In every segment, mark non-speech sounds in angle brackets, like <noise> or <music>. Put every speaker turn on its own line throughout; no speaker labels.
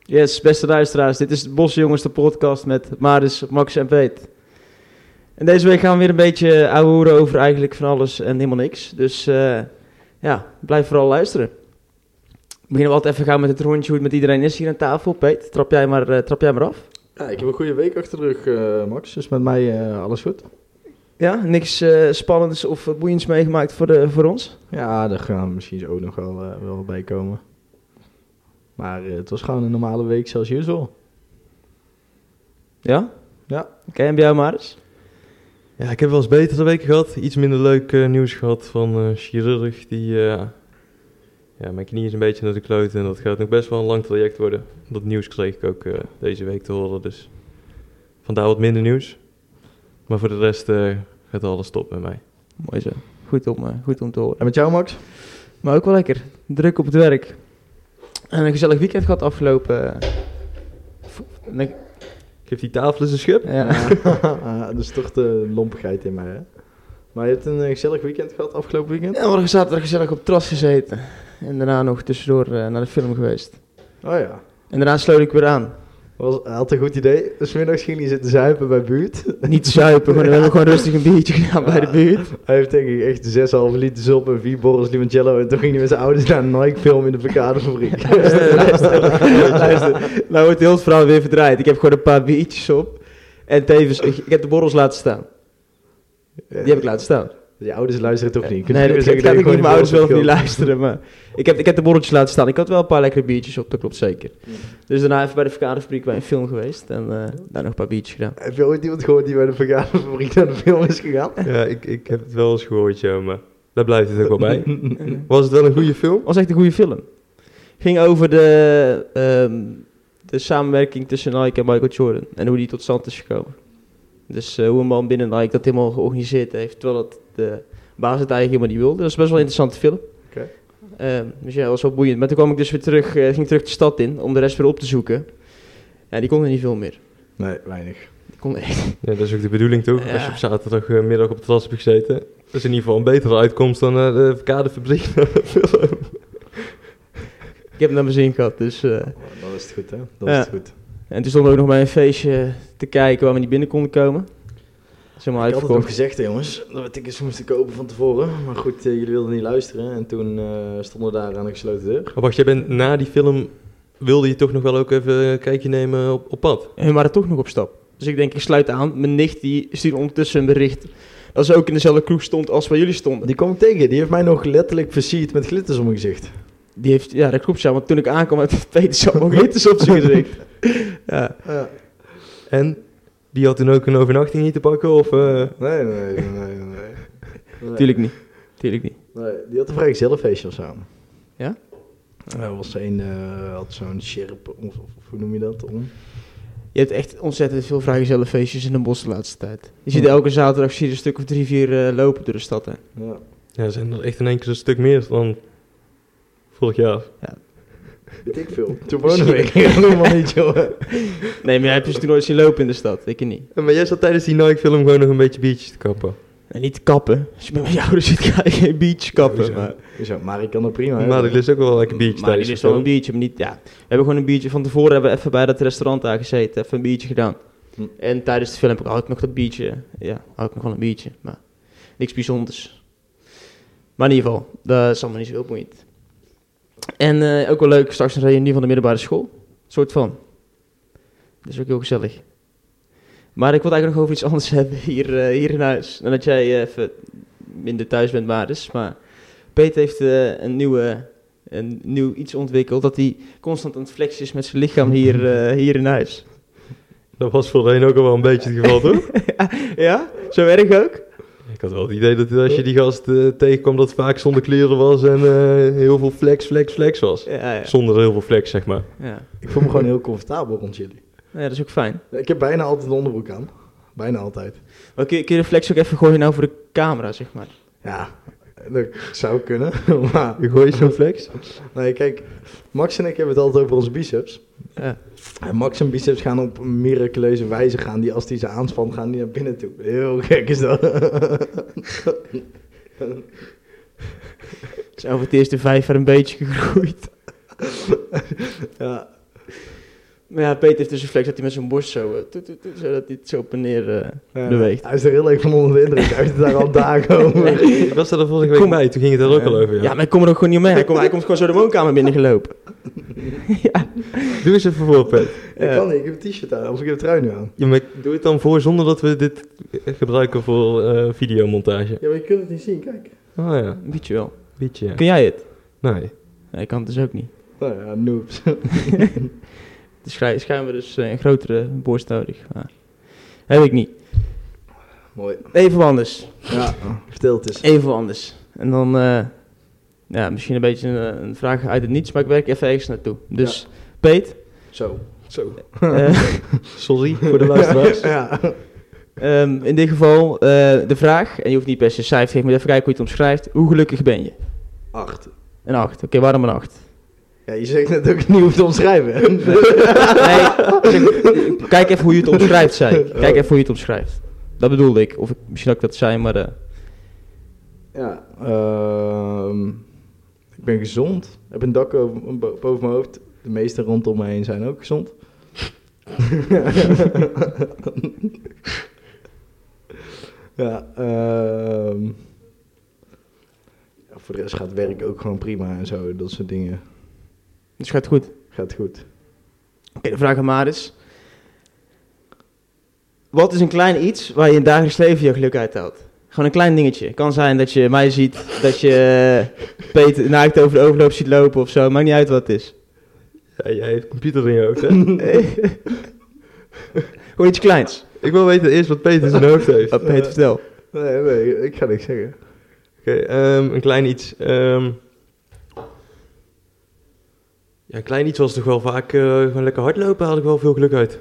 Yes, beste luisteraars, dit is Bosjongens, de podcast met Maris, Max en Peet. En deze week gaan we weer een beetje ouwehoeren over eigenlijk van alles en helemaal niks. Dus eh, ja, blijf vooral luisteren. We beginnen we altijd even gaan met het rondje hoe het met iedereen is hier aan tafel. Peet, trap jij maar, eh, trap jij maar af.
Ja, ik heb een goede week achter de rug, eh, Max. Dus met mij eh, alles goed.
Ja, niks eh, spannends of boeiends meegemaakt voor, de, voor ons.
Ja, daar gaan we misschien zo ook nog wel, eh, wel bij komen. Maar eh, het was gewoon een normale week, zoals usual.
Ja?
Ja.
Oké, en bij jou Maris?
Ja, ik heb wel eens betere weken gehad. Iets minder leuk eh, nieuws gehad van eh chirurg. Die, eh, ja, mijn knie is een beetje naar de kloot en dat gaat nog best wel een lang traject worden. Dat nieuws kreeg ik ook eh, deze week te horen, dus vandaar wat minder nieuws. Maar voor de rest eh, gaat alles top met mij.
Mooi zo. Goed om, eh, goed om te horen.
En met jou, Max?
Maar ook wel lekker. Druk op het werk. En een gezellig weekend gehad afgelopen. eh, v- nee,
Geef die tafel eens een schub.
Ja.
<laughs> Ah, dat is toch de lompigheid in mij, hè? Maar je hebt een eh, gezellig weekend gehad afgelopen weekend?
En morgen zaterdag gezellig op het terras gezeten. En daarna nog tussendoor eh, naar de film geweest.
Oh ja.
En daarna sloot ik weer aan.
Was, hij had een goed idee. Dus middags ging hij zitten zuipen bij buurt.
Niet zuipen, gewoon, we hebben
<laughs>
gewoon rustig een biertje gedaan bij de buurt.
Hij heeft denk ik echt 6,5 liters op en 4 borrels limoncello. En toen ging hij met zijn ouders naar een Nike-film in de verkaderfabriek.
<laughs> luister, luister. Nou wordt heel het verhaal weer verdraaid. Ik heb gewoon een paar biertjes op. En tevens, ik, ik heb de borrels laten staan. Die heb ik laten staan.
Je ouders luisteren toch niet? Je kunt
nee,
niet
dat,
meer
ik
zeggen
kan ook
je
niet mijn ouders
gewoon
wel of niet
borrels
luisteren, maar ik heb, ik heb de borreltjes laten staan. Ik had wel een paar lekkere biertjes op, dat klopt zeker. Dus daarna even bij de verkaderfabriek bij een film geweest en eh, daar nog een paar biertjes gedaan.
Heb je ooit iemand gehoord die bij de vergaderfabriek naar de film is
<laughs>
gegaan?
<laughs> Ja, ik, ik heb het wel eens gehoord, joh, maar daar blijft het ook wel <laughs> bij. Was het wel een goede film?
was echt een goede film. Ging over de, ehm, de samenwerking tussen Nike en Michael Jordan en hoe die tot stand is gekomen. Dus eh, hoe een man binnen Nike dat helemaal georganiseerd heeft, terwijl dat de baas het eigenlijk helemaal niet wilde. Dat was best wel een interessante film.
Oké.
Ehm, dus ja, dat was wel boeiend. Maar toen kwam ik dus weer terug, eh, ging terug de stad in om de rest weer op te zoeken. Ja, die kon er niet veel meer.
Nee, weinig.
Die kon echt. <laughs>
Ja, dat is ook de bedoeling toch?
Ja.
Als je op zaterdagmiddag op het terras hebt gezeten. Dat is in ieder geval een betere uitkomst dan eh, de kaderfabriek. <laughs>
Ik heb het naar mijn zin gehad. Dus, eh,
Oh, Dan is het goed, hè? Dan
Ja.
is het goed.
En toen stonden we ook nog bij een feestje te kijken waar we niet binnen konden komen. Zomaar
Ik had het nog
uitverkocht.
gezegd, hè, jongens, dat we tickets moesten kopen van tevoren. Maar goed, eh, jullie wilden niet luisteren. En toen eh, stonden we daar aan de gesloten deur.
Maar wacht, jij bent na die film... Wilde je toch nog wel ook even een kijkje nemen op, op pad?
hun waren toch nog op stap. Dus ik denk, ik sluit aan. Mijn nicht die stuurde ondertussen een bericht dat ze ook in dezelfde kroeg stond als waar jullie stonden.
Die kwam ik tegen. Die heeft mij nog letterlijk versierd met glitters om mijn gezicht.
Die heeft, ja, dat klopt ja, want toen ik aankwam had Peter <laughs> zo ook hitters op
<laughs>
zijn gezicht. <laughs> Ja.
En die had toen ook een overnachting hier te pakken? Of, eh,
Nee, nee, nee, nee. nee. <laughs> Nee.
Tuurlijk niet. Tuurlijk niet.
Nee, die had een vrijgezellenfeestje of zo.
Ja?
Er was een, eh, had zo'n sjerp, of, of hoe noem je dat? Om.
Je hebt echt ontzettend veel vrijgezellen feestjes in de bos de laatste tijd. Je ziet elke zaterdag zie je een stuk of drie, vier eh, lopen door de stad. Hè.
Ja.
ja, zijn er echt in één keer een stuk meer dan vorig jaar.
Weet ik veel. <laughs> Toen wonen we helemaal niet, joh. <laughs>
Nee, maar jij hebt dus toen nooit zien lopen in de stad. Ik niet.
En Maar jij zat tijdens die Nike-film gewoon nog een beetje biertjes te kappen.
En niet te kappen. Als je met mijn <laughs> ouders zit, ga je geen biertje kappen.
Ja,
maar
Zo, maar ik kan dat prima.
maar ik lust ook wel lekker biertjes
Maar
tijdens
die
die
is wel een
film.
biertje, maar niet, ja. We hebben gewoon een biertje van tevoren hebben we even bij dat restaurant daar gezeten, even een biertje gedaan.
Hm.
En tijdens de film heb ik ook nog dat biertje, ja, had ik nog wel een biertje, maar niks bijzonders. Maar in ieder geval, dat is allemaal niet zo heel boeiend. En eh, ook wel leuk, straks een reunie van de middelbare school, soort van. Dat is ook heel gezellig. Maar ik wil eigenlijk nog over iets anders <laughs> hebben hier, eh, hier in huis. En dat jij eh, even minder thuis bent, Maris. Maar Peter heeft eh, een nieuwe een nieuw iets ontwikkeld dat hij constant aan het flexen is met zijn lichaam hier, <laughs> eh, hier in huis.
Dat was voorheen ook al wel een beetje het geval, toch?
ja, zo erg ook.
<laughs> Ik had wel het idee dat als je die gast eh, tegenkwam, dat het vaak zonder kleren was en eh, heel veel flex, flex, flex was.
Ja, ja.
Zonder heel veel flex, zeg maar.
ja.
Ik voel me gewoon heel comfortabel rond jullie.
Ja, dat is ook fijn.
Ik heb bijna altijd een onderbroek aan. Bijna altijd.
Maar kun, je- kun je de flex ook even gooien nou voor de camera, zeg maar?
<laughs> Ja, dat zou kunnen. <laughs> Maar
Ik gooi zo'n flex.
nee, kijk, Max en ik hebben het altijd over onze biceps.
Ja.
En Max en biceps gaan op een miraculeuze wijze gaan. Die, als die ze aanspant, gaan die naar binnen toe. Heel gek is dat. <laughs>
Dus Zijn over het eerste vijf jaar een beetje gegroeid.
ja.
Maar ja, Peter heeft dus een flex dat hij met zijn borst zo... eh, toet, toet, toet, zodat hij het zo op en neer... eh,
Ja,
Beweegt.
Hij is er heel erg van onder de indruk. Hij is daar al <laughs> dagen over.
Ik was daar de volgende week
Kom.
bij, toen ging het er ook
Ja.
al over.
ja.
Ja.
maar ik kom er ook gewoon niet mee. Hij komt, hij komt gewoon zo de woonkamer binnengelopen.
Doe eens even voor, Pet.
Ik
Ja.
kan niet, ik heb een t-shirt aan. Of ik heb een trui nu aan.
Ja, maar doe het dan voor zonder dat we dit gebruiken voor eh, videomontage.
Ja, maar je kunt het niet zien, kijk.
Oh ja,
Weet je wel.
beetje ja.
Kun jij het?
Nee.
Nee, ik kan het dus ook niet.
Nou ja, noobs.
Dus schij- schijnbaar dus eh, een grotere borst nodig. Maar heb ik niet.
<laughs> Mooi.
Even wat anders.
Ja, vertel het eens.
Even wat anders. En dan, eh, ja, misschien een beetje een, eh, een vraag uit het niets, maar ik werk even ergens naartoe. Dus, Peet,
Zo. Zo.
eh,
<laughs> Sorry voor de luisteraars.
<laughs> Ja.
ehm, in dit geval eh, de vraag, en je hoeft niet per se een cijfer te geven, maar even kijken hoe je het omschrijft. Hoe gelukkig ben je?
Acht.
Een 8. Oké, waarom een 8?
Ja, je zegt net ook niet hoeft te omschrijven. hè? <laughs>
Nee, zeg, kijk even hoe je het omschrijft, zei ik. Kijk even hoe je het omschrijft. Dat bedoelde ik. Of ik, misschien dat ik dat zei, maar... eh,
Ja. ehm, ik ben gezond. Ik heb een dak over, bo- boven mijn hoofd. De meesten rondom me heen zijn ook gezond. <laughs> ja. ehm, ja, voor de rest gaat werk ook gewoon prima en zo. Dat soort dingen.
dus gaat goed. Oké,
Gaat goed.
de vraag aan Maris. Wat is een klein iets waar je in het dagelijks leven je geluk uit haalt? Gewoon een klein dingetje. Kan zijn dat je mij ziet, dat je eh, Peter naakt over de overloop ziet lopen of zo. Maakt niet uit wat het is.
Ja, jij hebt computer in je hoofd, hè?
Gewoon iets kleins.
ik wil weten eerst wat Peter in zijn hoofd heeft.
Wat
Oké,
Peter, vertel.
Nee, nee, ik ga niks zeggen.
ehm, een klein iets. ehm. ja, een klein iets was toch wel vaak eh, gewoon lekker hardlopen, had ik wel veel geluk uit.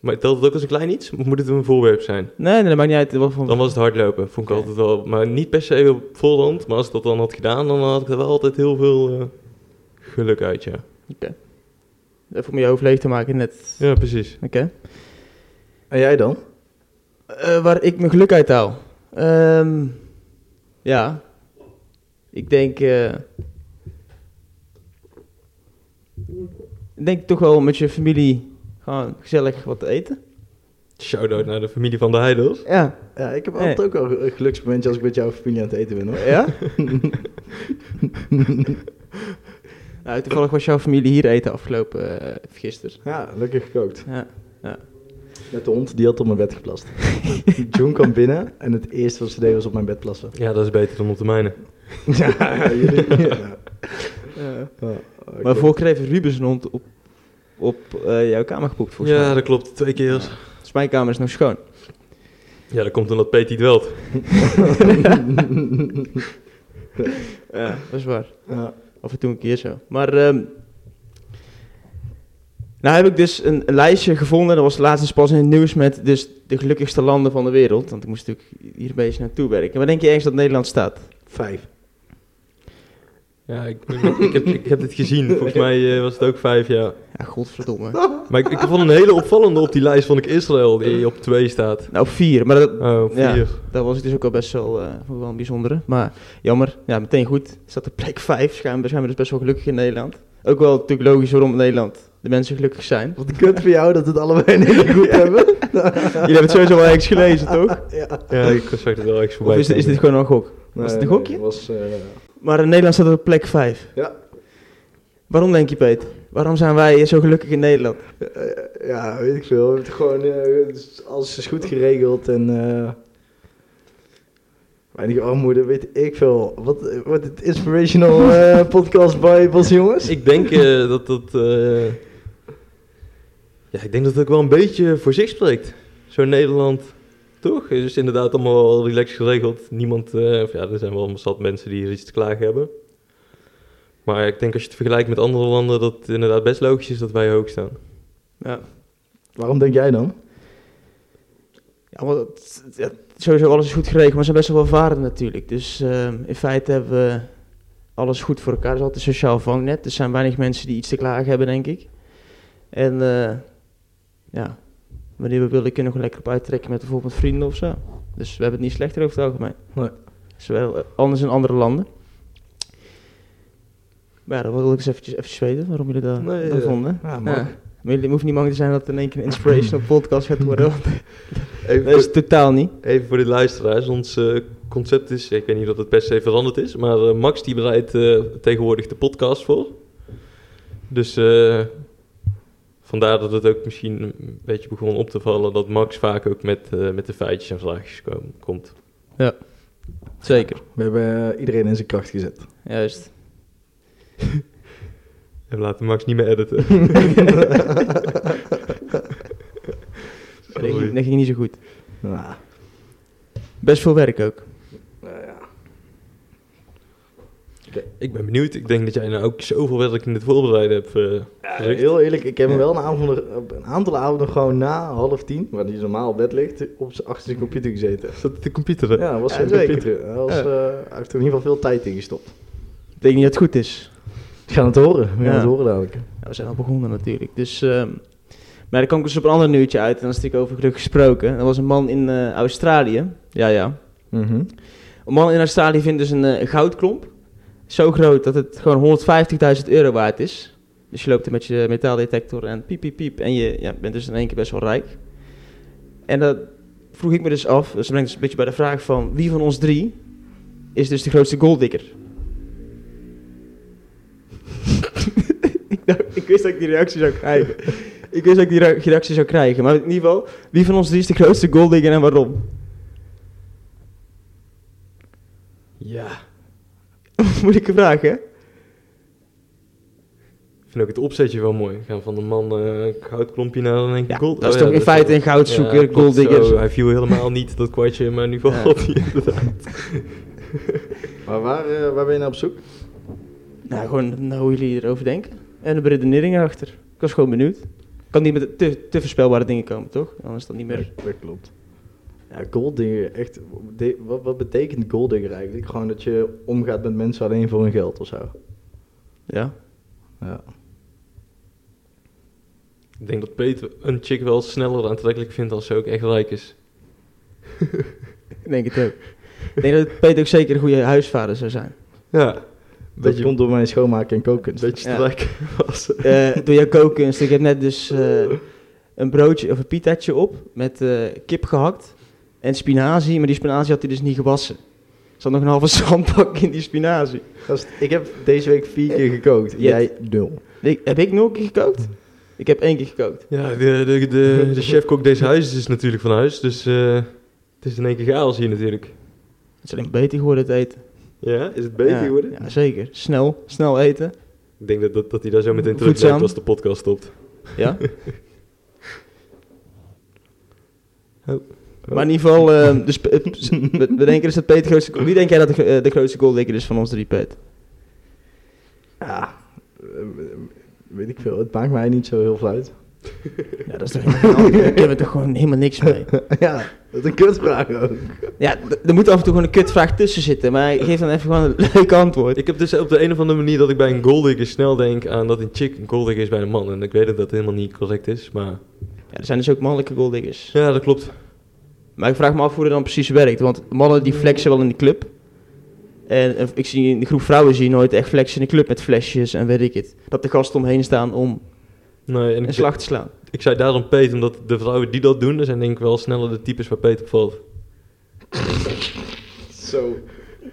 Maar telt het ook als een klein iets? Of moet het een voorwerp zijn?
Nee, nee, dat maakt niet uit. Wat voor...
Dan was het hardlopen, vond ik
Oké.
altijd wel. Maar niet per se op voorhand, maar als ik dat dan had gedaan, dan had ik er wel altijd heel veel eh, geluk uit, ja.
Even om je hoofd leeg te maken net.
Ja, precies.
Oké.
En jij dan?
Eh, waar ik mijn geluk uit haal. Ehm, ja. Ik denk. eh, ik denk toch wel met je familie gewoon gezellig wat te eten.
Shout-out naar de familie van de Heidels.
Ja.
Ja, ik heb
Nee.
altijd ook wel een geluksmomentje als ik met jouw familie aan het eten ben hoor. <laughs>
Ja? <laughs> nou, toevallig was jouw familie hier eten afgelopen eh gisteren.
Ja, lekker gekookt.
Ja.
Met de hond, die had op mijn bed geplast. June kwam binnen en het eerste wat ze deed was op mijn bed plassen.
Ja, dat is beter dan op de mijne.
<laughs> ja, jullie. Ja. Ja, oké.
maar vorige keer heeft Ruben zijn hond op, op eh, jouw kamer geboekt volgens
Ja,
mij.
dat klopt. Twee keer.
Dus mijn kamer is nog schoon.
Ja, dat komt omdat Peet niet welt.
Ja, dat is waar.
Ja.
Af en toe een keer zo. Maar ehm, nou heb ik dus een, een lijstje gevonden. Dat was laatst pas in het nieuws met dus de gelukkigste landen van de wereld. Want ik moest natuurlijk hier een beetje naartoe werken. Waar denk je ergens dat Nederland staat?
<laughs> Vijf.
Ja, ik, ik, heb, ik heb dit <laughs> gezien. Volgens mij eh, was het ook vijf jaar.
Ja, godverdomme.
Maar ik, ik vond een hele opvallende op die lijst, vond ik Israël, die op twee staat.
<laughs> Nou, vier. Maar dat,
Oh, vier.
Ja. dat was ik dus ook al best wel, eh, vond ik wel een bijzondere. Maar jammer. Ja, meteen goed. Staat op plek vijf. Schijnbaar zijn we dus best wel gelukkig in Nederland. Ook wel natuurlijk logisch waarom Nederland de mensen gelukkig <laughs> zijn.
Wat kut voor jou dat het allebei niet goed
<laughs>
hebben.
Jullie hebben het sowieso wel ergens gelezen, toch?
Ja, ik zag het wel echt
Of
voorbij.
is, dit- is dit gewoon een gok? Was het een gokje?
Nee, was, eh,
Maar in Nederland staat op plek 5.
Ja.
Waarom denk je, Peter? Waarom zijn wij zo gelukkig in Nederland?
eh, ja, weet ik veel. Het gewoon, eh, alles is goed geregeld en... eh, Weinig armoede, weet ik veel. Wat, wat het inspirational eh, podcast Bibles, jongens.
Ik denk eh, dat dat... eh, ja, ik denk dat het ook wel een beetje voor zich spreekt. Zo Nederland, toch? Het is inderdaad allemaal wel relaxed geregeld. Niemand... eh, of ja, er zijn wel een zat mensen die hier iets te klagen hebben. Maar ik denk als je het vergelijkt met andere landen... dat het inderdaad best logisch is dat wij hoog staan.
Ja.
Waarom denk jij dan?
Ja, want het- het- ja, sowieso alles is goed geregeld, maar ze zijn best wel welvarend natuurlijk. Dus ehm, in feite hebben we alles goed voor elkaar. Er is altijd een sociaal vangnet. Er zijn weinig mensen die iets te klagen hebben, denk ik. En eh, ja, wanneer we willen kunnen we gewoon lekker op uittrekken met bijvoorbeeld vrienden of zo. Dus we hebben het niet slechter over het algemeen.
Nee.
Zowel eh, anders in andere landen. Maar ja, dat wil ik eens eventjes, eventjes weten, waarom jullie dat,
Nee,
dat
eh,
vonden.
ja,
Ja,
mag.
Maar jullie- Het hoeft niet bang te zijn dat het in één keer een
<laughs>
inspirational podcast gaat worden. want
Even,
Dat is het Dus totaal niet.
voor, even voor de luisteraars. Ons eh, concept is, ik weet niet of het per se veranderd is, maar eh, Max die bereidt eh, tegenwoordig de podcast voor. Dus eh, vandaar dat het ook misschien een beetje begon op te vallen dat Max vaak ook met, eh, met de feitjes en vraagjes kom- komt.
Zeker.
We hebben eh, iedereen in zijn kracht gezet. <laughs>
Juist.
En we laten Max niet meer editen.
Dat ging, dat ging niet zo goed.
Nou,
Best veel werk ook.
nou ja.
<laughs> Ik ben benieuwd. Ik denk dat jij nou ook zoveel werk in het voorbereiden hebt. eh.
Ja,
Gericht.
heel eerlijk, ik heb hem wel een, avond, op een aantal avonden gewoon na half tien, waar hij normaal op bed ligt, op zijn achter zijn computer gezeten.
Zat de computer? hè?
Mm-hmm. Ja, was
Ja,
zijn
zeker.
computer. Hij was,
Ja.
eh, hij heeft er in ieder geval veel tijd in gestopt.
Ik denk niet dat het goed is.
We gaan het horen, we gaan
Ja.
het horen dadelijk.
Ja, we zijn al begonnen natuurlijk. Dus, ehm, maar dan kwam ik dus op een ander nieuwtje uit. En dat is natuurlijk over geluk gesproken. Er was een man in eh, Australië. Ja, ja.
Mhm.
Een man in Australië vindt dus een eh, goudklomp. Zo groot dat het gewoon 150.000 euro waard is. Dus je loopt er met je metaaldetector en piep, piep, piep. En je ja, bent dus in één keer best wel rijk. En dat vroeg ik me dus af. Dus dat brengt dus een beetje bij de vraag van... Wie van ons drie is dus de grootste golddigger? <laughs> ik, dacht, ik wist dat ik die reactie zou krijgen. ik wist dat ik die re- reactie zou krijgen. Maar in ieder geval... Wie van ons drie is de grootste golddigger en waarom? <laughs>
Ja.
Moeilijke vraag, hè?
Ik vind ook het opzetje wel mooi. We gaan van de man eh goudklompje naar een enkel
Ja,
gold.
dat is
Oh
toch in feite een goudzoeker,
klopt
golddigger.
zo. Hij viel helemaal niet dat kwartje, maar nu
Ja.
valt hij inderdaad.
Maar waar, eh, waar ben je naar op zoek?
Nou, gewoon naar hoe jullie erover denken. En de beredenering erachter. Ik was gewoon benieuwd. Kan niet met te, te voorspelbare dingen komen, toch? Anders is dat niet meer...
Dat klopt. Ja, golddigger, echt. de- wat, wat betekent golddigger eigenlijk? Gewoon dat je omgaat met mensen alleen voor hun geld of zo.
Ja.
Ja.
<laughs> Ik denk dat Peter een chick wel sneller aantrekkelijk vindt als ze ook echt rijk is.
Ik denk het ook. Ik denk dat Peter ook zeker een goede huisvader zou zijn.
Ja.
Dat
Beetje,
komt door mijn schoonmaken en koken.
beetje
Ja.
te rijk was.
Eh, door jouw kookkunst. Ik heb net dus eh, een broodje of een pitaatje op met eh, kip gehakt en spinazie. Maar die spinazie had hij dus niet gewassen. Er zat nog een halve <laughs> zandbak in die spinazie.
<laughs> Gast, ik heb deze week vier keer gekookt.
Je
Jij nul.
Ik- heb ik nog een keer gekookt? Ik heb één keer gekookt.
Ja, de, de, de, <laughs> de chefkok deze huis is natuurlijk van huis, dus eh, het is in één keer chaos hier natuurlijk.
Het is alleen maar beter geworden, het eten.
Ja, is het beter
Ja,
geworden?
Ja, zeker. Snel. Snel eten.
Ik denk dat, dat, dat hij daar zo meteen terug
Voedzaam.
blijft als de podcast stopt.
<laughs> Ja?
Oh.
Maar in ieder geval, ehm, dus, eh, s- we we denken dus dat Peter grootste goal... Wie denk jij dat de, gro- eh, de grootste goaldikker is van ons drie, Peter?
Ja, eh, weet ik veel. Het maakt mij niet zo heel veel uit.
Ja, dat is toch helemaal... Daar hebben we toch gewoon helemaal niks mee.
<laughs> ja, dat is een kutvraag ook.
<laughs> Ja, d- er moet af en toe gewoon een kutvraag tussen zitten. Maar geef dan even gewoon een <laughs> leuk antwoord.
Ik heb dus op de een of andere manier dat ik bij een goaldigger snel denk aan dat een chick een goaldigger is bij een man. En ik weet dat dat helemaal niet correct is, maar...
Ja, er zijn dus ook mannelijke goaldiggers.
Ja, dat klopt.
Maar ik vraag me af hoe dat dan precies werkt. Want mannen die flexen wel in de club. En eh, ik zie in de groep vrouwen zie je nooit echt flexen in de club met flesjes en weet ik het. Dat de gasten omheen staan om
Nee, en ik,
een slag te slaan.
ik zei daarom Peet, omdat de vrouwen die dat doen, dat zijn denk ik wel sneller de types waar Peet op valt.
Zo.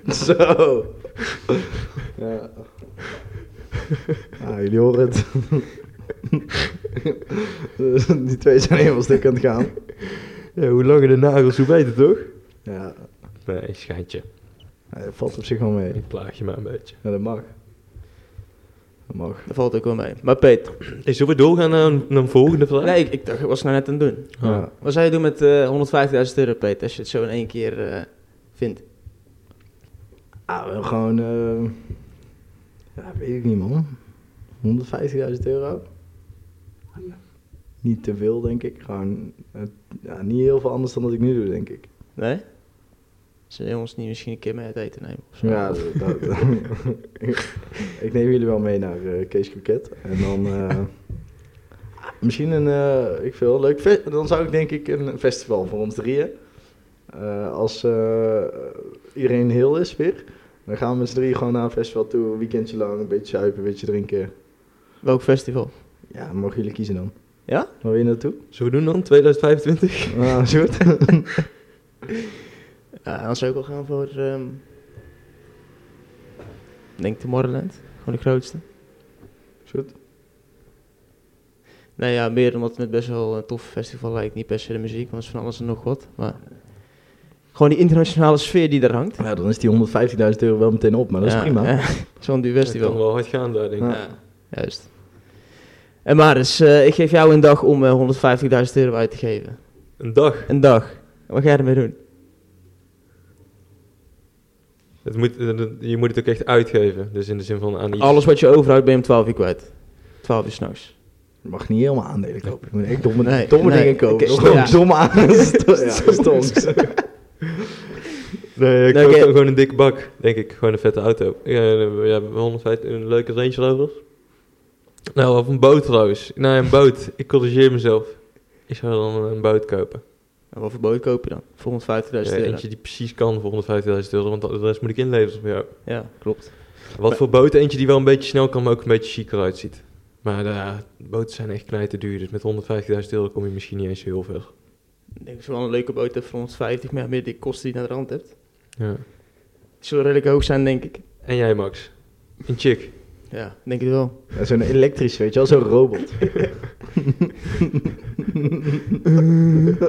Zo. ja. Ah, jullie horen het. <laughs> Die twee zijn helemaal stuk aan het gaan.
Ja, hoe langer de nagels, hoe beter toch?
Ja,
Nee, schijntje.
dat valt op zich wel mee.
Ik plaag je maar een beetje.
Ja, dat mag. Dat mag.
Dat valt ook wel mee. Maar Peter,
Hey, zullen we doorgaan naar een, naar een volgende vraag?
nee, ik, ik dacht, ik was nou net aan het doen.
Oh.
Ja.
Wat zou je doen met eh 150.000 euro, Peter, als je het zo in één keer eh, vindt?
Ah, wel gewoon... eh, ja, weet ik niet, man. 150.000 euro? Niet te veel, denk ik. Gewoon eh, ja, niet heel veel anders dan dat ik nu doe, denk ik.
Nee? Zullen we ons niet misschien een keer mee uit eten nemen? Of zo?
Ja, dat, dat- <laughs> ik, ik neem jullie wel mee naar eh, Kees Kroket. En dan eh, misschien een, eh, ik veel, leuk fe- Dan zou ik denk ik een festival voor ons drieën. Eh, als eh, iedereen heel is weer, dan gaan we met z'n drieën gewoon naar een festival toe. Een weekendje lang, een beetje zuipen, een beetje drinken.
Welk festival?
Ja, dan mogen jullie kiezen dan.
Ja?
Waar wil je naartoe?
Zullen we doen dan? 2025?
Ah, is goed.
Ja, dan zou ik wel gaan voor... ehm ik denk Tomorrowland. Gewoon de grootste.
Is goed.
Nou ja, meer omdat het best wel een tof festival lijkt. Niet per se de muziek, want het is van alles en nog wat. Maar gewoon die internationale sfeer die daar hangt.
Nou, dan is die 150.000 euro wel meteen op, maar dat is
Ja,
prima.
ja. <laughs> Zo'n duur
Dat kan
festival.
wel hard gaan daar, denk ik.
Ja.
Juist. En Maris, eh, ik geef jou een dag om eh, 150.000 euro uit te geven.
Een dag.
Een dag. Wat ga je ermee doen?
Het moet, je moet het ook echt uitgeven. Dus in de zin van aan iets.
Alles wat je overhoudt ben je om 12 uur kwijt. 12 uur s'nachts.
Je mag niet helemaal aandelen kopen. Je moet echt domme,
Nee,
domme
nee.
dingen kopen.
Oké,
Stom-
ja.
Stomme <laughs> aandelen. Ja, stonks.
Nee, Eh,
Nee,
ik koop
Nou, oké.
dan gewoon een dikke bak, denk ik. Gewoon een vette auto. Ja, eh, ja 150, een leuke Range Rover. Nou, of een boot trouwens. Nee, een boot. <laughs> Ik corrigeer mezelf. Ik zou dan een boot kopen.
En wat voor boot kopen dan? Voor 150.000
Ja,
euro.
eentje die precies kan voor 150.000 euro, want de rest moet ik inleveren voor jou.
Ja, klopt.
Wat voor boot? Eentje die wel een beetje snel kan, maar ook een beetje chiquer uitziet. Maar ja, boten zijn echt knijten duur, dus met 150.000 euro kom je misschien niet eens heel ver.
Ik denk dat je wel een leuke boot hebt voor 150, maar ja, meer die kosten die je naar de rand hebt.
Ja.
Die zullen redelijk hoog zijn, denk ik.
En jij, Max? Een chick.
Ja, denk het wel.
Ja, Zo'n elektrisch, weet je wel, zo'n <laughs> robot.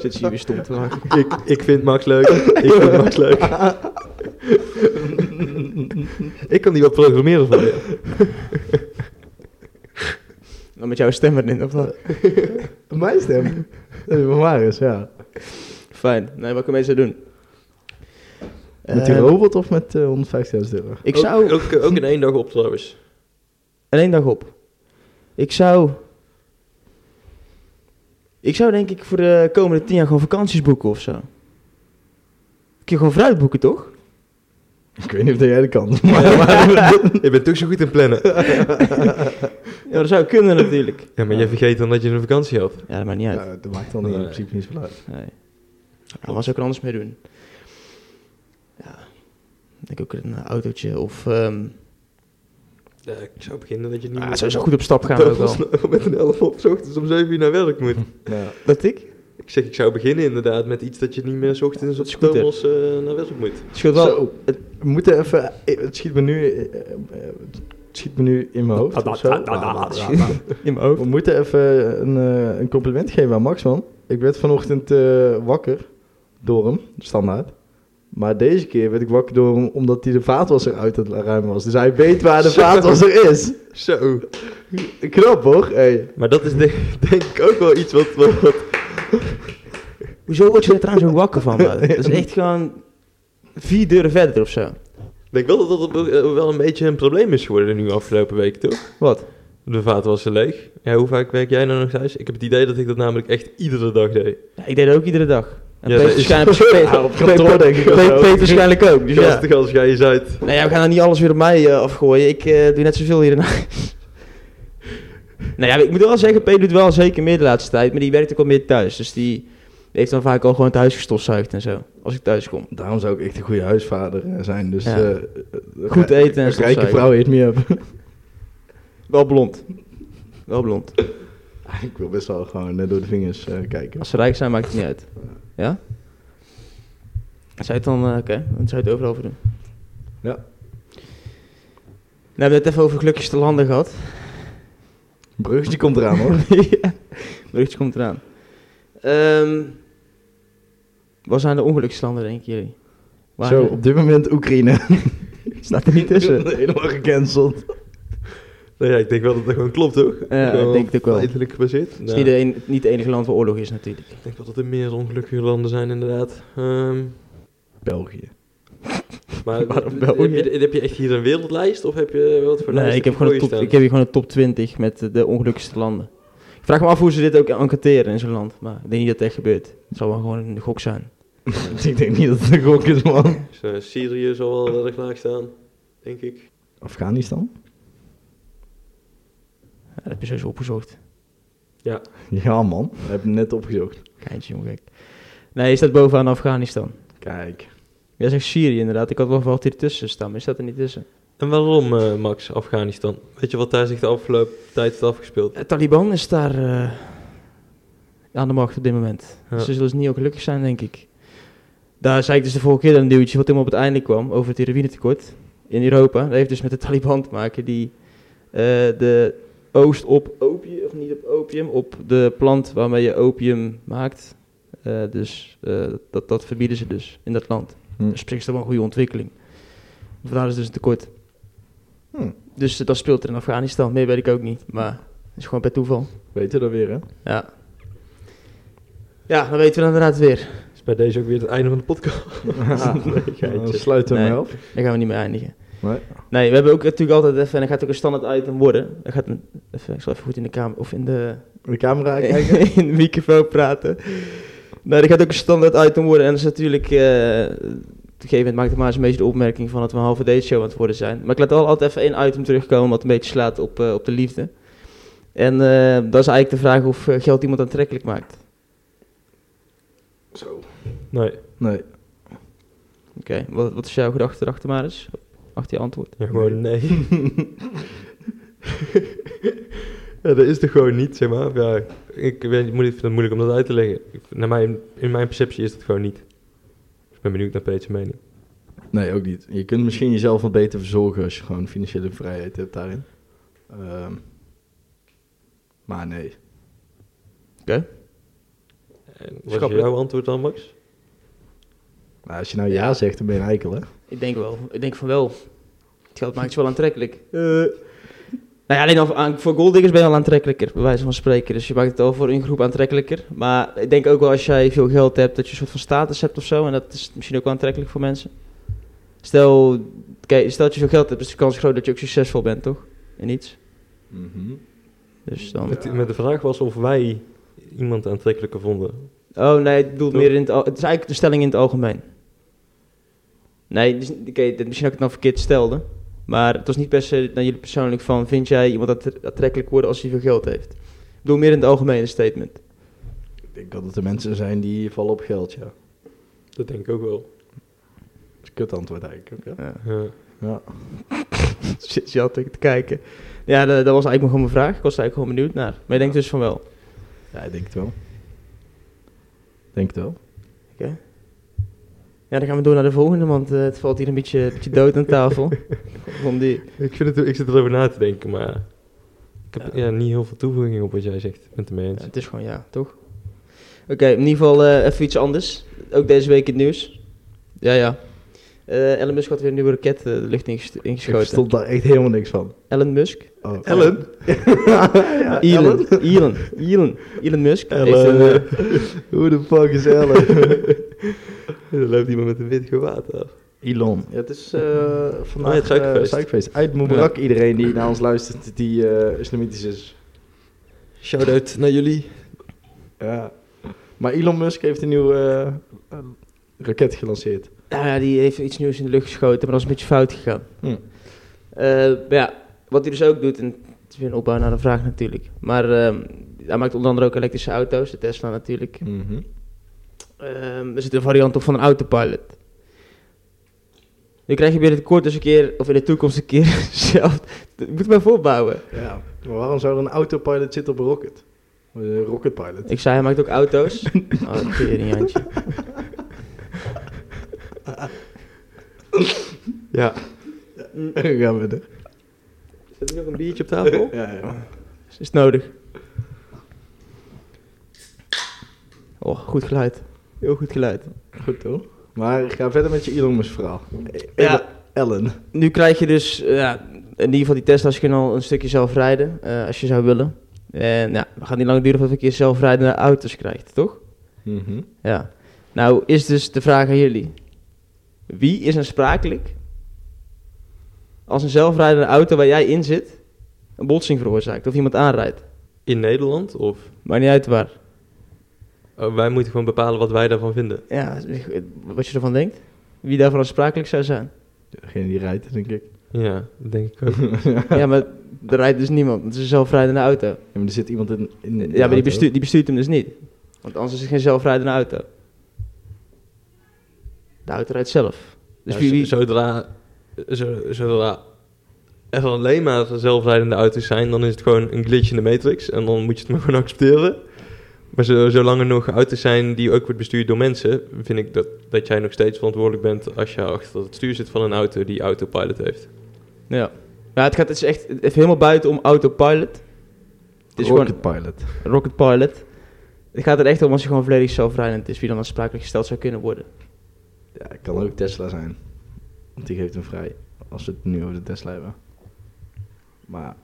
Zit ze hier weer stom te maken.
ik, ik vind Max leuk. Ik vind Max leuk. ik kan die wat programmeren voor je.
Dan Nou, met jouw stem erin, of wat?
Mijn stem. Dat is waar is, ja.
Fijn. Nee, wat kan mensen doen?
Met die
Eh,
robot of met eh, 150.000 euro? <laughs>
Ik zou...
Ook, ook, ook in één dag op <laughs> trouwens.
En één dag op. Ik zou... Ik zou denk ik voor de komende tien jaar gewoon vakanties boeken of zo. Kun je gewoon vooruit boeken, toch?
Ik weet niet of jij dat kan. Maar
je bent toch zo goed in plannen.
Ja, dat zou kunnen natuurlijk.
Ja, maar jij vergeet dan dat je een vakantie had.
Ja, dat maakt niet uit.
Ja, dat maakt dan niet, in
Nee.
principe niet zoveel uit.
Nee. Ja, wat zou ik er anders mee doen? Ja, ik denk ook een autootje of... ehm
Ja, ik zou beginnen dat je niet
ah,
meer- nou
sowieso
<laughs>
goed op stap gaan ook wel.
Met een 11 op 's ochtends om 7 uur naar werk moet.
Ja.
Dat ik?
Ik zeg, ik zou beginnen inderdaad met iets dat je niet meer 's ochtends op
Scooter.
Thomas eh naar werk moet.
Scheelt wel...
Zo, we moeten even... eh, Het schiet me nu, eh, eh, het schiet me nu in mijn
Ah,
hoofd. of zo. Ah,
In mijn hoofd.
We moeten even een, eh, een compliment geven aan Max, man. Ik werd vanochtend eh, wakker door hem, standaard. Maar deze keer werd ik wakker door hem omdat hij de vaatwasser uit het ruim was. Dus hij weet
<laughs>
waar de
Zo.
vaatwasser is.
<laughs> Zo.
Knap, hoor. Hey.
Maar dat is denk, <laughs> denk ik ook wel iets wat, wat, wat-
Hoezo word je er trouwens ook wakker van? man? Dat is echt gewoon vier deuren verder of zo.
Ik denk wel dat dat ook, eh, wel een beetje een probleem is geworden nu afgelopen week, toch?
Wat?
De vaatwasser leeg. Ja, hoe vaak werk jij nou nog thuis? Ik heb het idee dat ik dat namelijk echt iedere dag deed.
Ja, ik deed dat ook iedere dag. En
Ja,
Peter
dat is-
waarschijnlijk, Peter-
Ja, op kantoor denk ik
Peter-
ook.
Peter waarschijnlijk
<laughs>
ook. Dus ja.
Gastig als jij eens uit.
Nee, ja, we gaan nou niet alles weer op mij eh, afgooien. Ik eh, doe net zoveel hier in huis. nou ja, ik moet wel zeggen, Peter doet wel zeker meer de laatste tijd. Maar die werkt ook wel meer thuis. Dus die heeft dan vaak al gewoon thuis gestofzuigd en zo. Als ik thuis kom.
Daarom zou ik echt een goede huisvader eh, zijn. Dus
Ja.
eh, eh,
Goed
rij-
eten en
Rijke
stofzuigen.
vrouw hit
<laughs>
me up.
Wel blond. Wel blond.
ik wil best wel gewoon net door de vingers eh, kijken.
Als ze rijk zijn, maakt het niet uit. Ja? Zou je het dan... eh, Oké, dan zou je het overal voor doen.
Ja.
Nou, we hebben het even over gelukjes te landen gehad. <laughs>
Bruggetje komt eraan, hoor.
ja, berichtje komt eraan. Ehm wat zijn de ongelukslanden, denken jullie? Waar-
Zo, op dit moment Oekraïne.
<laughs> staat er niet tussen.
<laughs> Helemaal gecanceld.
Nou ja, ik denk wel dat dat gewoon klopt, toch?
Ja, eh, ik denk het ook wel.
Feitelijk gebaseerd.
Het is niet, de en- niet het enige land waar oorlog is, natuurlijk.
Ik denk wel dat er meer ongelukkige landen zijn, inderdaad. Ehm,
België.
<laughs>
maar
Waarom
heb
België?
je, heb je echt hier een wereldlijst? Of heb je wat voor
Nee,
lijst
ik heb, gewoon een
voor
top,
je
ik heb
staan?
hier gewoon een top 20 met eh, de ongelukkigste landen. Ik vraag me af hoe ze dit ook enquêteren in zo'n land. Maar ik denk niet dat het echt gebeurt. Het zal wel gewoon een gok zijn.
<laughs> ik denk niet dat het een gok is, man.
Dus, eh, Syrië zal wel erg laag staan, denk ik.
Afghanistan?
Ja, dat heb je sowieso opgezocht.
Ja, man. Dat heb ik net opgezocht.
Geintje, jongen. gek. Nee, je staat bovenaan Afghanistan.
Kijk.
Jij zegt Syrië inderdaad. Ik had wel verwacht hier tussen staan, maar je staat er niet tussen.
En waarom, eh, Max, Afghanistan? Weet je wat daar zich de afgelopen tijd heeft afgespeeld?
De Taliban is daar eh, aan de macht op dit moment.
Ja.
Ze zullen dus niet ook gelukkig zijn, denk ik. Daar zei ik dus de vorige keer dat een duwtje wat helemaal op het einde kwam over het heroïnetekort in Europa. Dat heeft dus met de Taliban te maken die eh, de oost op opium, of niet op opium, op de plant waarmee je opium maakt. Eh, dus eh, dat, dat verbieden ze dus in dat land.
Hm.
Dus op zich is dat wel een goede ontwikkeling. Vandaar is dus een tekort.
Hm.
Dus eh, dat speelt er in Afghanistan. Meer weet ik ook niet. Maar het is gewoon per toeval.
Weet je dat weer, hè?
Ja. Ja, dan weten we dan inderdaad weer.
Is bij deze ook weer het einde van de podcast?
<laughs> nee,
geintje.
Dan sluiten we
Nee.
Nou, hem af.
Daar gaan we niet mee eindigen.
Nee.
Nee, we hebben ook natuurlijk altijd even... En dat gaat ook een standaard item worden. Dat gaat een- even, ik zal even goed in de kamer... Of in de, <laughs>
De camera kijken.
in de microfoon praten. Nee, dat gaat ook een standaard item worden. En dat is natuurlijk... eh, op een gegeven moment maakt het maar eens een beetje de opmerking van dat we een halve date show aan het worden zijn. Maar ik laat wel altijd even één item terugkomen wat een beetje slaat op, eh, op de liefde. En eh, dat is eigenlijk de vraag of eh, geld iemand aantrekkelijk maakt.
Zo.
Nee,
<laughs> Nee.
Oké, wat, wat is jouw gedachte erachter, Maris? Achter je antwoord.
ja, gewoon nee. ja, dat is toch gewoon niet, zeg maar. Ja, ik, weet, ik moet- ik vind het moeilijk om dat uit te leggen. Ik, naar mijn, in mijn perceptie is dat gewoon niet. Dus ik ben benieuwd naar Peter's mening.
Nee, ook niet. Je kunt misschien jezelf wat beter verzorgen als je gewoon financiële vrijheid hebt daarin. Ehm, maar nee.
En wat is
Schappelijk.
jouw antwoord dan, Max?
Nou, als je nou ja zegt, dan ben je een eikel, hè?
Ik denk wel. Ik denk van wel. Het geld maakt je wel aantrekkelijk. nou ja, alleen al aan- voor golddiggers ben je al aantrekkelijker, bij wijze van spreken. Dus je maakt het al voor een groep aantrekkelijker. Maar ik denk ook wel als jij veel geld hebt, dat je een soort van status hebt of zo. En dat is misschien ook wel aantrekkelijk voor mensen. Stel, kijk, stel dat je veel geld hebt, is de kans groot dat je ook succesvol bent, toch? In iets.
Mhm.
Dus dan...
Met, met de vraag was of wij iemand aantrekkelijker vonden.
Oh nee, ik bedoel meer in het al- Het is eigenlijk de stelling in het algemeen. Nee, dus, oké, dit- misschien dat ik het nou verkeerd stelde. Maar het was niet per se naar jullie persoonlijk van... Vind jij iemand attre- aantrekkelijk worden als hij veel geld heeft? Ik bedoel meer in het algemene statement.
Ik denk dat het de mensen zijn die vallen op geld, ja.
Dat denk ik ook wel.
Dat is een kut antwoord eigenlijk ook, hè?
Ja.
Ja.
<laughs> Zit je altijd te kijken. Ja, dat, dat was eigenlijk gewoon mijn vraag. Ik was er eigenlijk gewoon benieuwd naar. Maar ik denk dus van wel.
ja, ik denk het wel. Denk het wel.
Ja, dan gaan we door naar de volgende. Want eh, het valt hier een beetje, een beetje dood aan <laughs> tafel. Om die...
Ik, vind het, ik zit erover na te denken, maar ik heb
Ja.
ja. niet heel veel toevoeging op wat jij zegt. Ik ben het ermee eens.
Ja, het is gewoon ja, toch? Oké, in ieder geval eh, even iets anders. Ook deze week in het nieuws. Ja, ja. Eh, Elon Musk had weer een nieuwe raket eh, de lucht ingest-
Ik
ingeschoten.
verstond daar echt helemaal niks van.
Elon <laughs> Musk?
Oh. <laughs>
Ellen?
ja,
Elon,
Ellen?
Elon, Elon, Elon Musk. heeft
Ellen.
een, eh,
<laughs> Hoe de fuck is Ellen?
Er loopt iemand met een wit gewaad af.
Elon. Ja, het is eh vandaag
Oh, het suikerfeest.
eh, suikerfeest. Uit Mubarak, iedereen die naar ons luistert, die eh, islamitisch is.
Shout-out naar jullie.
Ja. Maar Elon Musk heeft een nieuwe eh, eh, raket gelanceerd.
nou ja, die heeft iets nieuws in de lucht geschoten, maar dat is een beetje fout gegaan.
Hm.
Eh, maar ja, wat hij dus ook doet, en het is weer een opbouw naar de vraag natuurlijk. Maar ehm, hij maakt onder andere ook elektrische auto's, de Tesla natuurlijk. Ehm, er zit een variant op van een autopilot. Nu krijg je binnenkort dus een keer, of in de toekomst een keer <laughs> zelf. Ik moet mij voorbouwen.
Ja, maar waarom zou er een autopilot zitten op een rocket? Een rocketpilot.
Ik zei, hij maakt ook
<laughs>
auto's. Oh, tering, Jantje.
Ja. Mm.
<laughs> Gaan we er.
Zet er nog een biertje op
<laughs>
tafel?
Ja, ja.
Is het nodig? Oh, goed geluid. Heel goed geluid.
Goed hoor. Maar ga verder met je Elon Musk verhaal.
Ja.
Ellen.
Nu krijg je dus, eh, ja, in ieder geval die Tesla's kunnen al een stukje zelf rijden, eh, als je zou willen. En ja, het gaat niet lang duren voordat we een keer zelfrijdende auto's krijgt, toch? Mhm. Ja. Nou is dus de vraag aan jullie. Wie is aansprakelijk als een zelfrijdende auto waar jij in zit een botsing veroorzaakt of iemand aanrijdt?
In Nederland? Of
Maakt niet uit waar.
oh, wij moeten gewoon bepalen wat wij daarvan vinden.
Ja, wat je ervan denkt. Wie daarvoor aansprakelijk zou <laughs> zijn.
Degene die rijdt, denk ik.
<laughs> Ja, dat denk ik ook.
ja, maar er rijdt dus niemand. Het is een zelfrijdende auto.
Ja, maar er zit iemand in. in de
Ja, maar die
auto.
bestuurt, die bestuurt hem dus niet. Want anders is het geen zelfrijdende auto. De auto rijdt zelf. Dus
Ja,
wie,
z-
wie,
Zodra, zo- zodra er alleen maar zelfrijdende auto's zijn, dan is het gewoon een glitch in de matrix. En dan moet je het maar <laughs> gewoon accepteren. Maar zo, zolang er nog auto's zijn die ook wordt bestuurd door mensen, vind ik dat, dat jij nog steeds verantwoordelijk bent als je achter het stuur zit van een auto die autopilot heeft.
Ja. Maar het gaat het is echt het is helemaal buiten om autopilot. Het is gewoon
Rocket Pilot.
rocket pilot. Het gaat er echt om als je gewoon volledig zelfrijdend is, wie dan aansprakelijk gesteld zou kunnen worden.
Ja, het kan ook Tesla zijn. Want die geeft hem vrij. Als we het nu over de Tesla hebben. Maar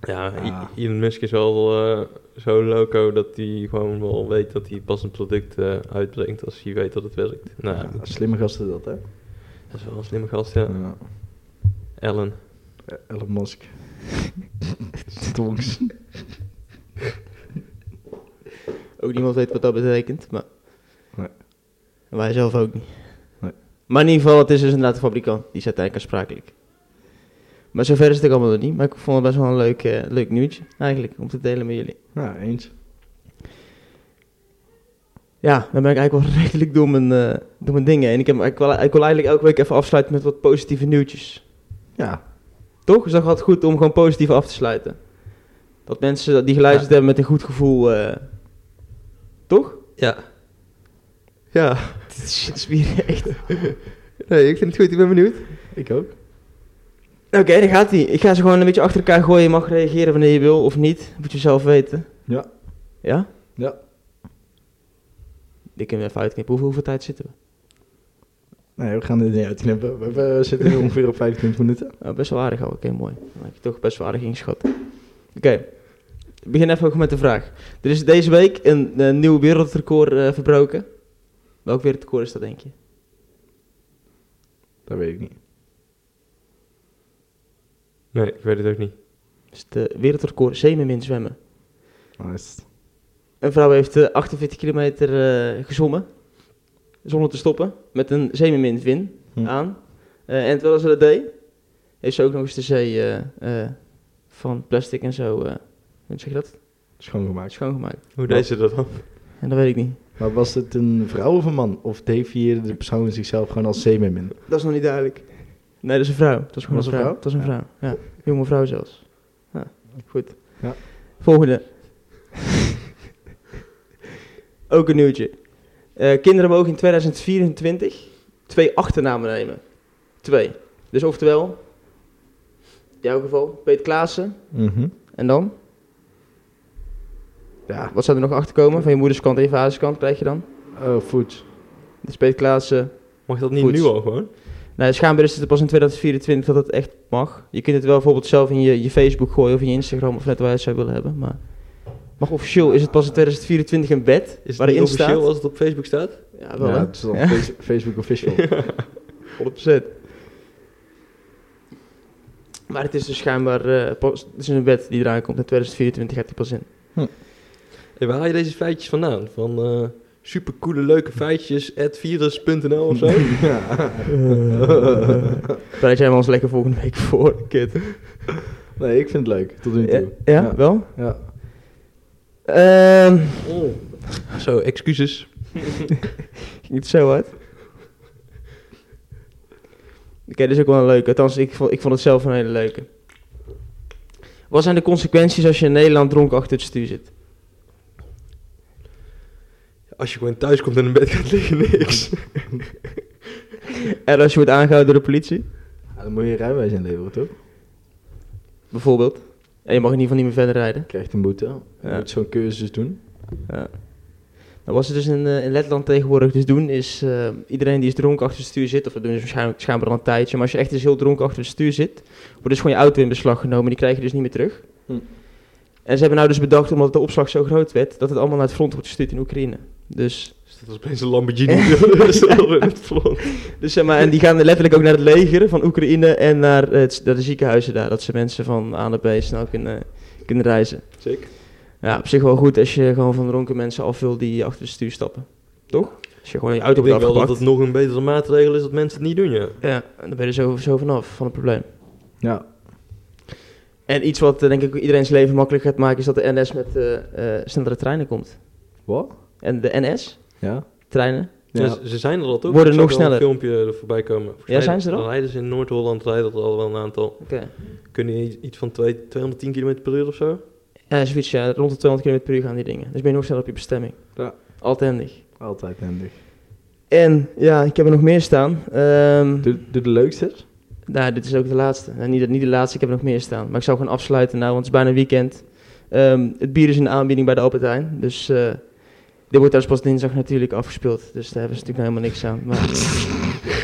Ja, I-
Ja.
Elon Musk is wel eh, zo loco dat hij gewoon wel weet dat hij pas een product eh, uitbrengt als hij weet dat het werkt. Nou,
ja, slimme gasten dat, hè?
dat is wel een slimme gast, ja.
Ja.
Ellen.
Elon
<laughs>
Musk. Stonks.
Ook niemand weet wat dat betekent, maar...
Nee.
En Wij zelf ook niet.
Nee.
Maar in ieder geval, het is dus inderdaad de fabrikant. Die is uiteindelijk aansprakelijk. Maar zover is het ook allemaal nog niet. Maar ik vond het best wel een leuk, eh, leuk nieuwtje, eigenlijk, om te delen met jullie.
Ja, eens.
Ja, dan ben ik eigenlijk wel <laughs> redelijk door mijn, eh, door mijn dingen. En ik, heb, ik, wil, ik wil eigenlijk elke week even afsluiten met wat positieve nieuwtjes.
Ja.
Toch? Dus dat gaat goed om gewoon positief af te sluiten. Dat mensen die geluisterd hebben met een goed gevoel... eh, toch?
Ja.
<laughs>
Ja.
Dit is weer echt...
<laughs> Nee, ik vind het goed. Ik ben benieuwd.
Ik ook.
Oké, daar gaat hij. Ik ga ze gewoon een beetje achter elkaar gooien. Je mag reageren wanneer je wil of niet. Moet je zelf weten.
Ja.
Ja?
Ja.
Ik kan even uitknippen. Hoeveel, hoeveel tijd zitten we?
Nee, we gaan dit niet uitknippen. We, we
<laughs>
zitten nu ongeveer op 25 minuten.
Oh, best wel aardig al. Oké, mooi. Dan heb je toch best wel aardig ingeschat. Oké. Ik begin even ook met de vraag. Er is deze week een, eh, nieuw wereldrecord eh, verbroken. Welk wereldrecord is dat, denk je?
Dat weet ik niet.
Nee, ik weet het ook niet.
Dat is het eh, wereldrecord zeemermin zwemmen.
Maar is het-
Een vrouw heeft eh, 48 kilometer eh, gezwommen. Zonder te stoppen. Met een zeemerminwin.
Hm.
aan. Eh, en terwijl ze dat deed, heeft ze ook nog eens de zee eh, eh, van plastic en zo, eh hoe zeg je dat,
Schoongemaakt.
schoongemaakt.
Hoe deed ze dat dan?
En dat weet ik niet.
Maar was het een vrouw of een man? Of definieerde de persoon zichzelf gewoon als zeemermin?
Dat is nog niet duidelijk. Nee, dat is een vrouw. Dat is gewoon
Was
een
een
vrouw.
vrouw?
Dat is een vrouw, ja. Jonge vrouw zelfs. Ja, goed.
Ja.
<laughs> Volgende. ook een nieuwtje. Eh, kinderen mogen in 2024 twee achternamen nemen. Twee. Dus oftewel, in jouw geval, Peter Klaassen.
Mhm.
En dan?
Ja.
Wat zou er nog achterkomen? Van je moeders kant en je vaders kant krijg je dan?
Oh, voet.
Dus Peter Klaassen.
Mag dat niet
Goed.
nu al gewoon?
Nou, schijnbaar is het pas in 2024 dat het echt mag. Je kunt het wel bijvoorbeeld zelf in je, je Facebook gooien of in je Instagram of net waar je het zou willen hebben. Maar, maar officieel is het pas in 2024 een bed
Is het
waarin
niet officieel
staat.
als het op Facebook staat?
Ja, wel
Ja,
hè?
Ah, het is dan
Ja.
face- Facebook official. <laughs>
100%. Maar het is dus schijnbaar eh, pas, het is een wet die eraan komt. In 2024 gaat die pas in.
Hey, waar haal je deze feitjes vandaan? Van eh supercoole leuke feitjes at virus.nl of zo?
ja.
Bereid jij maar ons lekker volgende week voor, kid.
Nee, ik vind het leuk. Tot nu
Ja,
toe.
ja,
Ja.
wel?
Ja.
Ehm,
<laughs> Zo, excuses.
ging het zo hard? Oké, dit is ook wel een leuke. Althans, ik vond, ik vond het zelf een hele leuke. Wat zijn de consequenties als je in Nederland dronken achter het stuur zit?
Als je gewoon thuis komt en in bed gaat liggen, <laughs> niks.
En als je wordt aangehouden door de politie,
Ja, Dan moet je je rijbewijs inleveren, toch?
bijvoorbeeld. En je mag in ieder geval niet meer verder rijden.
Je krijgt een boete. Je
Ja.
moet zo'n cursus doen.
Ja. Nou, wat ze dus in, eh, in Letland tegenwoordig dus doen, is eh, iedereen die is dronken achter het stuur zit, of dat doen ze waarschijnlijk schijnbaar al een tijdje, maar als je echt eens heel dronken achter het stuur zit, wordt dus gewoon je auto in beslag genomen, die krijg je dus niet meer terug.
Hm.
En ze hebben nou dus bedacht, omdat de opslag zo groot werd, dat het allemaal naar het front wordt gestuurd in Oekraïne. Dus,
Dus dat was opeens een <laughs> Lamborghini. Dat is wel in het front.
dus zeg maar, en die gaan letterlijk ook naar het leger van Oekraïne en naar, eh, het, naar de ziekenhuizen daar, dat ze mensen van A naar B snel kunnen, kunnen reizen.
Sick.
Ja, op zich wel goed als je gewoon van dronken mensen af wil die achter het stuur stappen. Toch? Als je gewoon je auto
Ik denk
wordt
wel dat
afgepakt.
het nog een betere maatregel is dat mensen het niet doen, ja.
Ja, en dan ben je er zo, zo vanaf van het probleem.
Ja.
En iets wat eh, denk ik iedereen's leven makkelijk gaat maken, is dat de NS met eh, eh, snellere treinen komt.
Wat?
En de NS,
Ja. Dus-
treinen, de
Ja.
ze, ze zijn er al toch?
Worden
Ik
nog
zag wel
sneller.
een filmpje er voorbij komen. Volgens
Ja,
mij
zijn ze er al?
Rijden ze in Noord-Holland, rijden er al wel een aantal.
Oké.
Kunnen i- iets van twee- 210 km per uur of zo?
Ja, eh, zoiets, ja. Rond de 200 km per uur gaan die dingen. Dus ben je nog sneller op je bestemming.
Ja.
Altijd handig.
Altijd handig.
En ja, ik heb er nog meer staan. Ehm,
Doe, doe de leukste.
Nou, dit is ook de laatste. Nou, niet, niet de laatste, ik heb er nog meer staan. Maar ik zou gewoon afsluiten nou, want het is bijna weekend. Ehm, het bier is in de aanbieding bij de Albert Heijn. Dus eh, dit wordt dus pas dinsdag natuurlijk afgespeeld. Dus daar hebben ze natuurlijk nou helemaal niks aan. Maar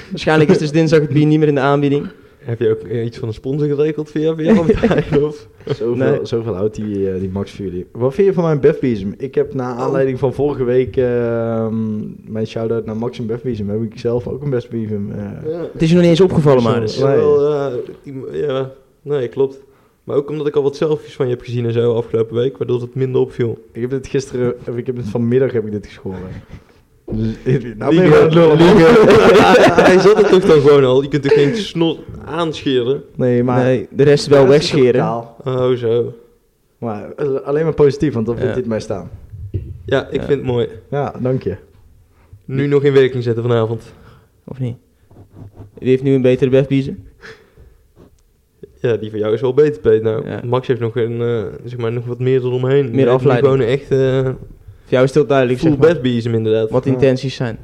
<laughs> waarschijnlijk is dus dinsdag het bier niet meer in de aanbieding.
Heb je ook eh, iets van een sponsor geregeld via
<laughs>
via Albert Heijn, of?
Zoveel,
Nee.
zoveel houdt die, eh, die Max voor jullie. Wat vind je van mijn Befbism? Ik heb na aanleiding van vorige week ehm, mijn shout-out naar Max en Befbism. Heb ik zelf ook een Befbism. eh.
Het is je nog niet eens opgevallen, maar dus.
Zo.
Ja, wel, eh, die- ja, nee, klopt. Maar ook omdat ik al wat selfies van je heb gezien en zo afgelopen week, waardoor het minder opviel.
Ik heb dit gisteren, of ik heb het vanmiddag heb ik dit geschoren. Dus, <laughs> eh, nou ben
Liegen.
je aan het
<laughs>
lullen, <laughs> man.
Hij zat er toch dan gewoon al? Je kunt er geen snor aanscheren?
Nee, maar...
nee, de rest wel
Ja, het is
wegscheren.
totaal.
Oh, zo.
Maar eh, alleen maar positief, want dan vindt
Ja.
dit mij staan.
Ja, ik
Ja.
vind het mooi.
Ja, dank je.
Nu nog in werking zetten vanavond.
Of niet? Wie heeft nu een betere befbiezen?
Ja, die van jou is wel beter, Peet. Nou,
Ja.
Max heeft nog, een, eh, zeg maar, nog wat meer eromheen. Die heeft nu
afleiding.
Gewoon een echt eh
Voor jou is het heel duidelijk,
full
zeg maar,
bedbeasem inderdaad.
wat de
Ja.
intenties zijn.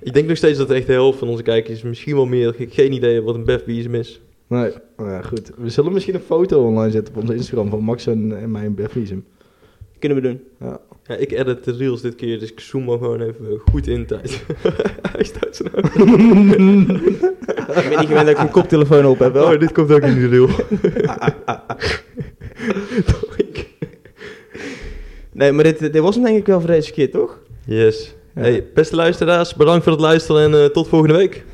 Ik denk nog steeds dat echt de helft van onze kijkers misschien wel meer ge- geen idee hebben wat een bedbeasem is.
Nee, nou ja, goed. We zullen misschien een foto online zetten op onze Instagram van Max en, en mijn Befbism.
Kunnen we doen.
Ja, ik edit de reels dit keer, dus ik zoom hem gewoon even goed in <laughs> tijd. Hij staat zo nou.
ik ben niet gewend dat ik een koptelefoon op heb, wel.
Oh, dit komt ook in
<laughs>
de reel. Toch, ik-
Nee, maar dit, dit was hem denk ik wel voor deze keer, toch?
yes.
Ja.
Hey, beste luisteraars, bedankt voor het luisteren en eh, tot volgende week.